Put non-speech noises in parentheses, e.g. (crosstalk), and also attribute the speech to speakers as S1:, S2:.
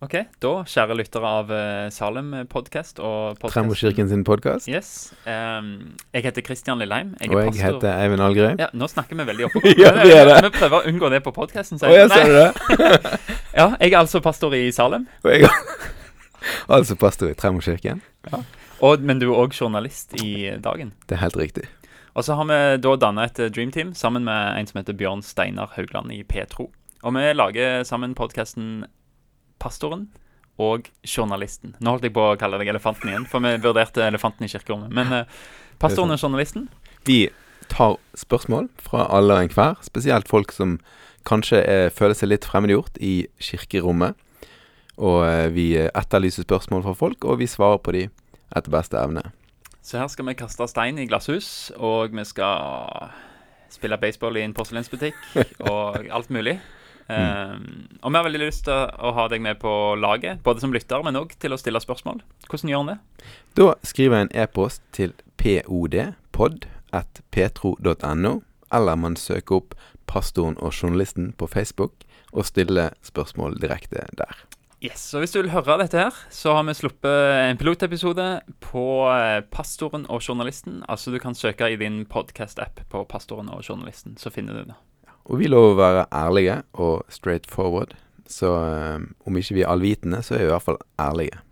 S1: Ok, da, kjære lyttere av eh, Salem podcast og podcast.
S2: Tremorkirken sin podkast.
S1: Yes. ehm, jeg heter Kristian Lilleheim. Jeg er
S2: Og jeg
S1: pastor.
S2: heter Eivind Algrøy.
S1: Ja, nå snakker vi veldig opp.
S2: (laughs) Ja, vi gjør det.
S1: Vi prøver å unngå det på podcasten.
S2: Å ja, ser du det?
S1: Ja, jeg er altså pastor i Salem,
S2: Og jeg (laughs) altså pastor i Tremorkirken.
S1: og, men du er også journalist i dagen.
S2: Det er helt riktig.
S1: Og så har vi da dannet et eh, Dream Team sammen med en som heter Bjørn Steinar Haugland i Petro. Og vi lager sammen podkasten Pastoren og Journalisten. Nå holdt jeg på å kalle deg Elefanten igjen, for vi vurderte Elefanten i kirkerommet. Men eh, Pastoren og Journalisten
S2: Vi tar spørsmål fra alle og enhver, spesielt folk som kanskje eh, føler seg litt fremmedgjort i kirkerommet. Og eh, vi eh, etterlyser spørsmål fra folk, og vi svarer på de etter beste evne.
S1: Så her skal vi kaste stein i glasshus, og vi skal spille baseball i en porselensbutikk og alt mulig. Um, og vi har veldig lyst til å ha deg med på laget, både som lytter, men òg til å stille spørsmål. Hvordan gjør en det?
S2: Da skriver jeg en e-post til podpod.petro.no, eller man søker opp pastoren og journalisten på Facebook og stiller spørsmål direkte der.
S1: Yes, og Hvis du vil høre dette, her, så har vi sluppet en pilotepisode på eh, Pastoren og journalisten. Altså Du kan søke i din podkast-app på Pastoren og journalisten, så finner du det.
S2: Og vi lover å være ærlige og straight forward, så eh, om ikke vi er allvitende, så er vi i hvert fall ærlige.